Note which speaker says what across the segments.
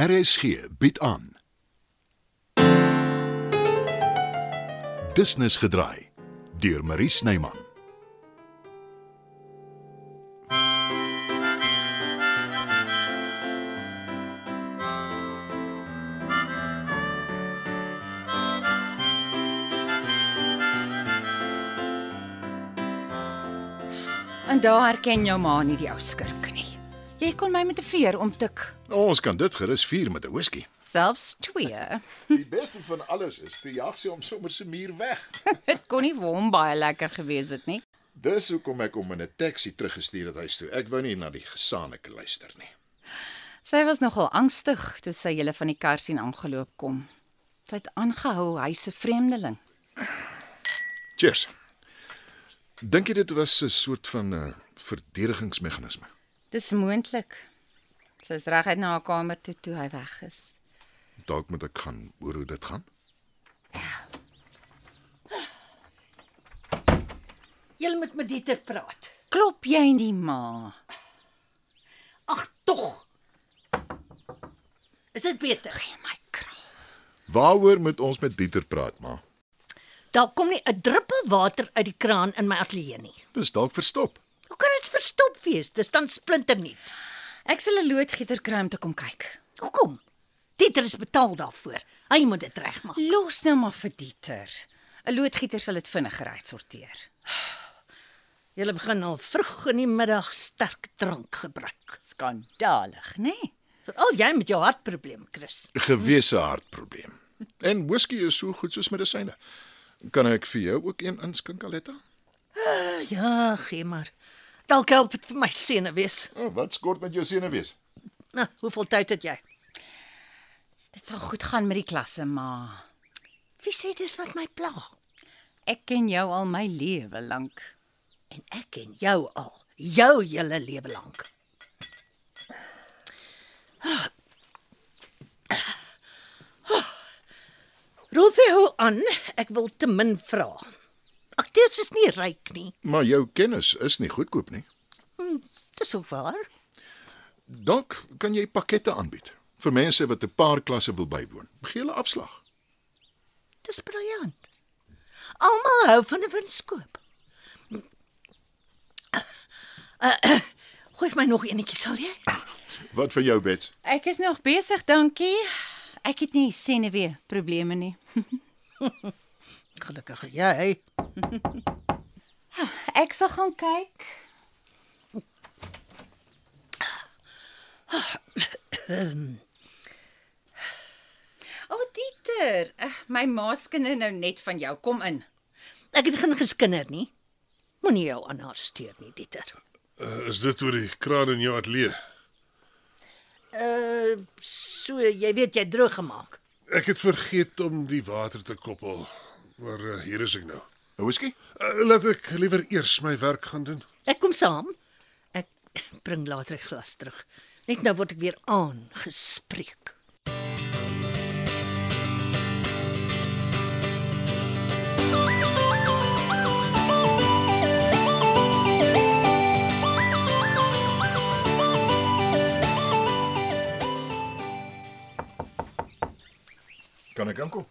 Speaker 1: RSG bied aan. Business gedraai deur Marie Snyman.
Speaker 2: En daar herken jou ma nie die ou skurk nie. Jy kon my met 'n veer omtik,
Speaker 1: Ons kan dit gerus vier met 'n whisky.
Speaker 2: selfs twee.
Speaker 1: Die beste van alles is toe jag sy hom sommer se muur weg.
Speaker 2: Dit kon nie vir hom baie lekker gewees het nie.
Speaker 1: Dis hoekom ek hom in 'n taxi teruggestuur het huis toe. Ek wou nie na die gesaanike luister nie.
Speaker 2: Sy was nogal angstig toe sy julle van die kar sien aangeloop kom. Sy het aangehou hy's 'n vreemdeling.
Speaker 1: Cheers. Dink jy dit was 'n soort van 'n uh, verdedigingsmeganisme?
Speaker 2: Dis moontlik. Sy's reguit na haar kamer toe toe hy weg is.
Speaker 1: Dalk moet ek gaan hoor hoe dit gaan.
Speaker 3: Jy moet met Dieter praat.
Speaker 2: Klop jy nie ma?
Speaker 3: Ag tog. Is dit beter?
Speaker 2: Gee ja, my kraal.
Speaker 1: Waaroor moet ons met Dieter praat, ma?
Speaker 3: Daar kom nie 'n druppel water uit die kraan in my ateljee nie.
Speaker 1: Dis dalk verstop.
Speaker 3: Hoe kan dit verstop wees? Dis dan splinternuut.
Speaker 2: Ek sal 'n loodgieter kry om te kom kyk.
Speaker 3: Hoekom? Dieter is betaal daarvoor. Hy moet dit regmaak.
Speaker 2: Los nou maar vir Dieter. 'n Loodgieter sal dit vinniger uitsorteer.
Speaker 3: Jy begin al vroeg in die middag sterk drank gebruik.
Speaker 2: Skandalig, nê? Nee?
Speaker 3: Veral jy met jou hartprobleem, Chris.
Speaker 1: gewese hartprobleem. En whisky is so goed soos medisyne. Kan ek vir jou ook een inskink, Aletta?
Speaker 3: Ja, gee maar. Dalk help dit vir my senuwees.
Speaker 1: O, oh, wat skort met jou senuwees?
Speaker 3: Nou, hoeveel tyd het jy?
Speaker 2: Dit sal goed gaan met die klasse, ma.
Speaker 3: Wie sê dis wat my pla?
Speaker 2: Ek ken jou al my lewe lank.
Speaker 3: En ek ken jou al, jou hele lewe lank. Rolf jy hou aan, ek wil te min vra. Akteurs is nie ryk nie.
Speaker 1: Maar jou kennis is nie goedkoop nie.
Speaker 3: Dis ook waar.
Speaker 1: Dalk kan jy pakkette aanbied vir mense wat 'n paar klasse wil bywoon. Gee hulle afslag.
Speaker 3: Dis briljant. Almal hou van 'n winskoop. Uh, gooi vir my nog enetjie sal jy?
Speaker 1: Wat van jou, Bets?
Speaker 2: Ek is nog besig, dankie. Ek het nie senuwee probleme nie.
Speaker 3: Gelukkig jy.
Speaker 2: Ek sal gaan kyk. O, oh, Dieter, eh, my maaskinde nou net van jou. Kom in.
Speaker 3: Ek het geen geskinder nie. Moenie jou aan haar steur nie, Dieter.
Speaker 4: Uh, is dit oor die kraan in jou ateljee?
Speaker 3: Uh so jy weet jy droog gemaak.
Speaker 4: Ek het vergeet om die water te koppel. Maar uh, hier is ek nou.
Speaker 1: 'n Whisky?
Speaker 4: Uh, laat ek liewer eers my werk gaan doen.
Speaker 3: Ek kom saam. Ek bring later 'n glas terug. Net nou word ek weer aangespreek.
Speaker 1: Kan ek inkom?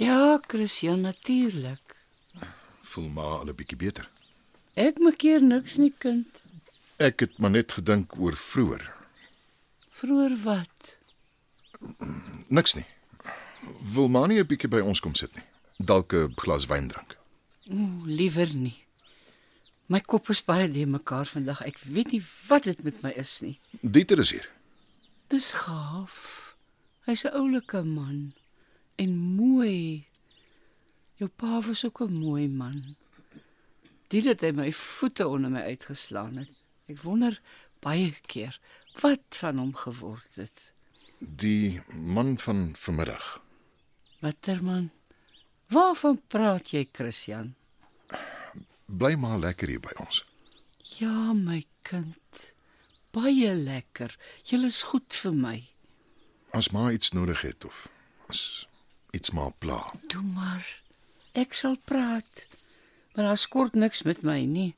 Speaker 5: Ja, Christian, natuurlik.
Speaker 1: Voel maar al 'n bietjie beter.
Speaker 5: Ek maak hier niks nie, kind.
Speaker 1: Ek het maar net gedink oor vroeër.
Speaker 5: Vroer wat?
Speaker 1: Niks nie. Wil maar nie 'n bietjie by ons kom sit nie. Dalk 'n glas wyn drink.
Speaker 5: O, liewer nie. My kop is baie de mekaar vandag. Ek weet nie wat dit met my is nie.
Speaker 1: Dieter is hier.
Speaker 5: Dis gaaf. Hy's 'n oulike man en mooi. Jou pa was ook 'n mooi man. Dit het hy my voete onder my uitgeslaan het. Ek wonder baie keer wat van hom geword het.
Speaker 1: Die man van vanmiddag.
Speaker 5: Watterman. Waarvan praat jy, Christian?
Speaker 1: Bly maar lekker hier by ons.
Speaker 5: Ja, my kind. Baie lekker. Jy is goed vir my.
Speaker 1: As maar iets nodig het of as iets maar pla.
Speaker 5: Toe maar. Ek sal praat. Maar daar skort niks met my nie.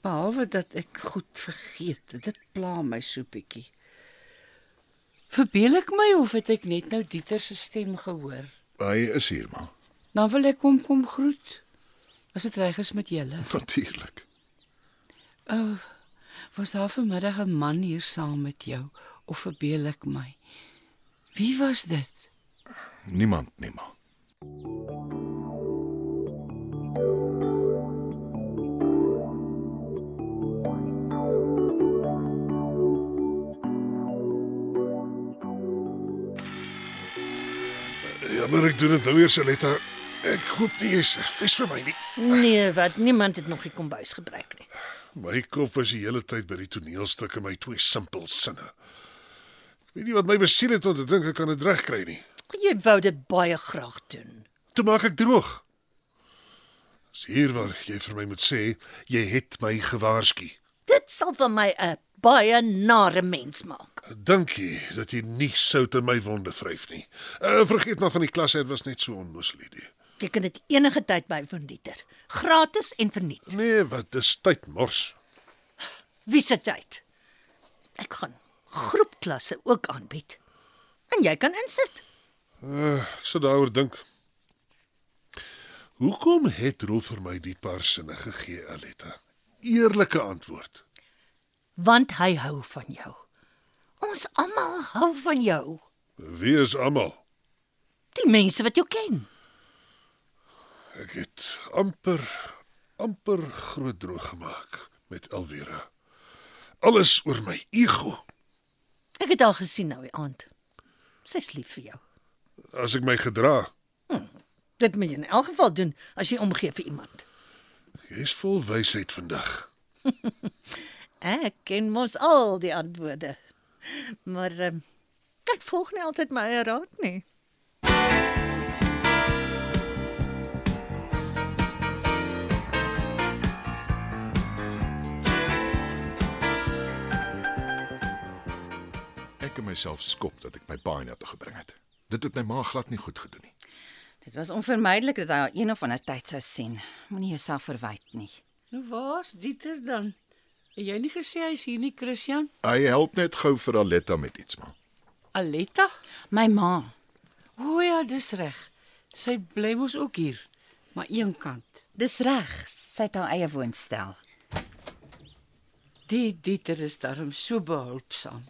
Speaker 5: Behalwe dat ek goed vergeet. Dit pla my so bietjie. Verbeel ek my of het ek net nou Dieter se stem gehoor?
Speaker 1: Hy is hier, ma.
Speaker 5: Dan wil ek hom kom groet. As dit reg is met julle.
Speaker 1: Natuurlik.
Speaker 5: Oh, was daar vanmiddag 'n man hier saam met jou of verbeel ek my? Wie was dit?
Speaker 1: Niemand nie, ma.
Speaker 4: Jammer ek doen dit nou weer, Saletta. Ek hoop nie jy's vis vir my nie.
Speaker 3: Nee, wat niemand het nog die kombuis gebruik nie.
Speaker 4: My kop was die hele tyd by die toneelstuk en my twee simpel sinne. Ek weet nie wat my besiel het om te dink ek kan dit regkry nie.
Speaker 3: Jy wou dit baie graag doen.
Speaker 4: Toe maak ek droog. Dis hier waar jy vir my moet sê jy het my gewaarsku.
Speaker 3: Dit sal van my 'n baie nare mens maak.
Speaker 4: Dankie dat jy nie sout in my wonde vryf nie. Uh, vergeet maar van die klas, dit was net so onmoeslik die.
Speaker 3: Jy kan dit enige tyd by van Dieter. Gratis en verniet.
Speaker 4: Nee, wat dis tyd mors.
Speaker 3: Wie se tyd? Ek gaan groepklasse ook aanbied. En jy kan insit.
Speaker 4: Uh, ek sou daaroor dink. Hoekom het Rolf vir my die paar sinne gegee, Aletta? Eerlike antwoord.
Speaker 3: want hy hou van jou. Ons almal hou van jou,
Speaker 4: Wie is almal?
Speaker 3: die mense wat jou ken.
Speaker 4: Ek het amper amper groot droog gemaak met Alvera. Alles oor my ego.
Speaker 3: Ek het haar gesien nou die aand. Sy's lief vir jou.
Speaker 4: As ek my gedra,
Speaker 3: Dit moet jy in elk geval doen as jy omgee vir iemand.
Speaker 4: jy's vol wysheid vandag.
Speaker 3: Ek ken mos al die antwoorde. Maar um, ek volg nie altyd my eie raad nie.
Speaker 1: Ek het myself skop dat ek my pa na toe gebring het. Dit het my ma glad nie goed gedoen nie.
Speaker 2: Dit was onvermydelik dat hy haar een of ander tyd sou sien. Moenie jouself verwyd nie.
Speaker 5: Nou waar's Dieter dan? Het jy nie gesê hy's hier nie, Christian?
Speaker 1: Hy help net gou vir Aletta met iets, ma.
Speaker 5: Aletta?
Speaker 2: My ma,
Speaker 5: O ja, dis reg. Sy bly mos ook hier, maar eenkant.
Speaker 2: dis reg, sy het haar eie woonstel.
Speaker 5: Die Dieter is daarom so behulpsaam.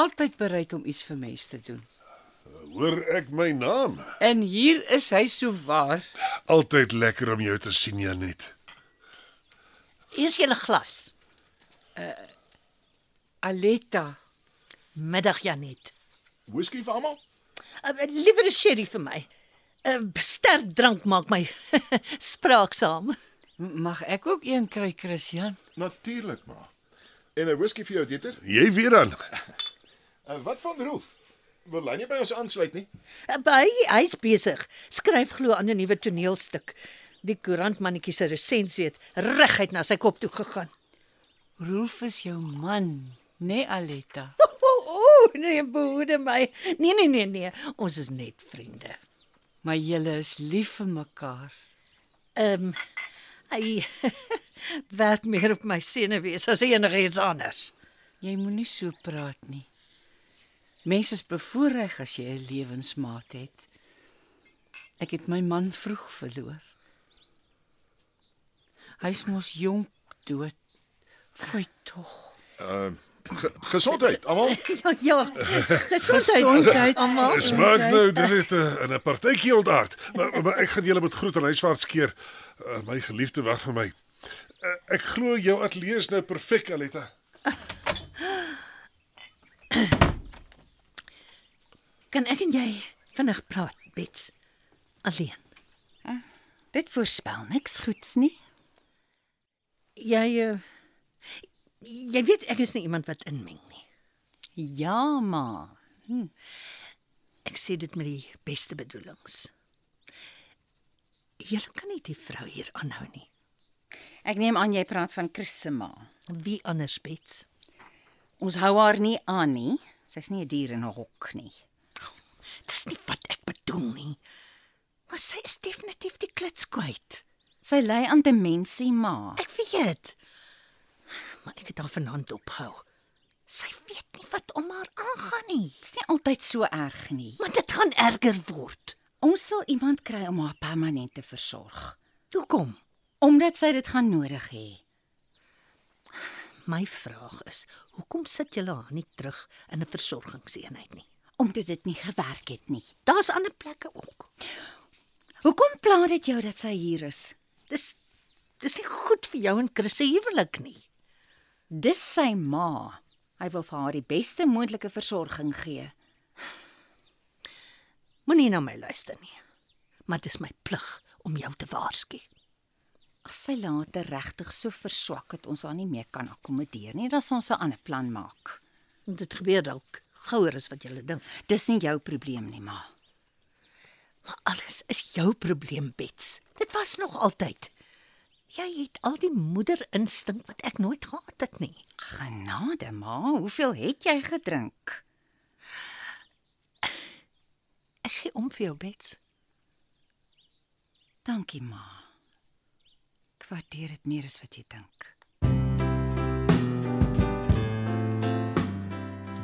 Speaker 5: Altyd bereid om iets vir mense te doen.
Speaker 4: Hoor ek my naam?
Speaker 5: En hier is hy so waar.
Speaker 4: Altyd lekker om jou te sien, Janet.
Speaker 3: Eers julle glas.
Speaker 5: Aletta.
Speaker 3: Middag Janet.
Speaker 1: Whisky vir almal?
Speaker 3: Uh, liewer 'n sherry vir my. 'n uh, Sterk drank maak my spraaksaam.
Speaker 5: M- Mag ek ook een kry, Christian?
Speaker 1: Natuurlik, ma. En 'n whisky vir jou, Dieter?
Speaker 4: Jy weer aan.
Speaker 1: En Eh, wat van Rolf? Wil hy nie by ons aansluit nie?
Speaker 3: By hy's besig. Skryf glo aan 'n nuwe toneelstuk. Die koerantmannetjie se resensie het reguit na sy kop toe gegaan.
Speaker 5: Rolf is jou man, né, nee, Aletta?
Speaker 3: O, o, o nee, behoede my. Nee, nee, nee, nee. Ons is net vriende.
Speaker 5: Maar julle is lief vir mekaar.
Speaker 3: Ehm um, hy werk meer op my senuwees as enigiets anders.
Speaker 5: Jy moenie so praat nie. Mense is bevoordeel as jy 'n lewensmaat het. Ek het my man vroeg verloor. Hy's mos jonk dood. Fooi tog.
Speaker 1: Ge gesondheid, almal.
Speaker 3: Ja, ja. Gesondheid.
Speaker 5: Gesondheid.
Speaker 3: Almal.
Speaker 4: Dis maak nou dit is 'n- in 'n partytjie ontaard. Maar, maar ek gaan julle met groet en huiswaarts keer. Uh, my geliefde wag vir my. Uh, ek glo jou ateljee is nou perfek, Aletta.
Speaker 3: Kan ek en jy vinnig praat, Bets? Alleen.
Speaker 2: Dit voorspel niks goeds nie.
Speaker 3: Jy uh, jy weet ek is nie iemand wat inmeng nie.
Speaker 2: Ja, ma.
Speaker 3: Ek sê dit met die beste bedoelings. Julle kan nie die vrou hier aanhou nie.
Speaker 2: Ek neem aan jy praat van Chris se ma.
Speaker 3: Wie anders bets?
Speaker 2: Ons hou haar nie aan nie. Sy's nie 'n dier in 'n hok nie.
Speaker 3: Dis nie wat ek bedoel nie. Maar sy is definitief die klits kwyt.
Speaker 2: Sy ly aan demensie, ma.
Speaker 3: Ek weet. Maar ek het haar vanaand dopgehou. Sy weet nie wat om haar aangaan nie,
Speaker 2: Dit's nie altyd so erg nie.
Speaker 3: maar dit gaan erger word.
Speaker 2: Ons sal iemand kry om haar permanent te versorg,
Speaker 3: Hoekom?
Speaker 2: omdat sy dit gaan nodig hê.
Speaker 3: My vraag is, hoekom sit julle haar nie terug in 'n versorgingseenheid nie?
Speaker 2: omdat dit nie gewerk het nie.
Speaker 3: Daar's ander plekke ook.
Speaker 2: Hoekom pla dit jou dat sy hier is?
Speaker 3: Dis dis nie goed vir jou en Chris se huwelik nie.
Speaker 2: Dis sy ma. Hy wil vir haar die beste moontlike versorging gee.
Speaker 3: Moenie na my luister nie. Maar dis my plig om jou te waarsku.
Speaker 2: As sy later regtig so verswak dat ons haar nie meer kan akkommodeer nie, dan sal ons 'n ander plan maak.
Speaker 3: Dit gebeur dalk gouer as wat jy dink.
Speaker 2: Dis nie jou probleem nie, ma.
Speaker 3: Maar alles is jou probleem, Bets. Dit was nog altyd. Jy het al die moederinstink wat ek nooit gehad het nie.
Speaker 2: Genade, ma, hoeveel het jy gedrink?
Speaker 3: Ek gee om vir jou, Bets.
Speaker 2: Dankie, ma. Ek waardeer dit meer as wat jy dink.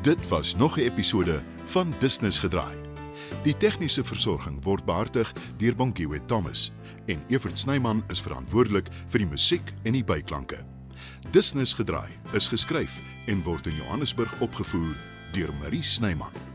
Speaker 1: Dit was nog 'n episode van Business Gedraai. Die tegniese versorging word behartig deur Bonnie Witt Thomas en Evert Snyman is verantwoordelik vir die musiek en die byklanke. Business Gedraai is geskryf en word in Johannesburg opgevoer deur Marie Snyman.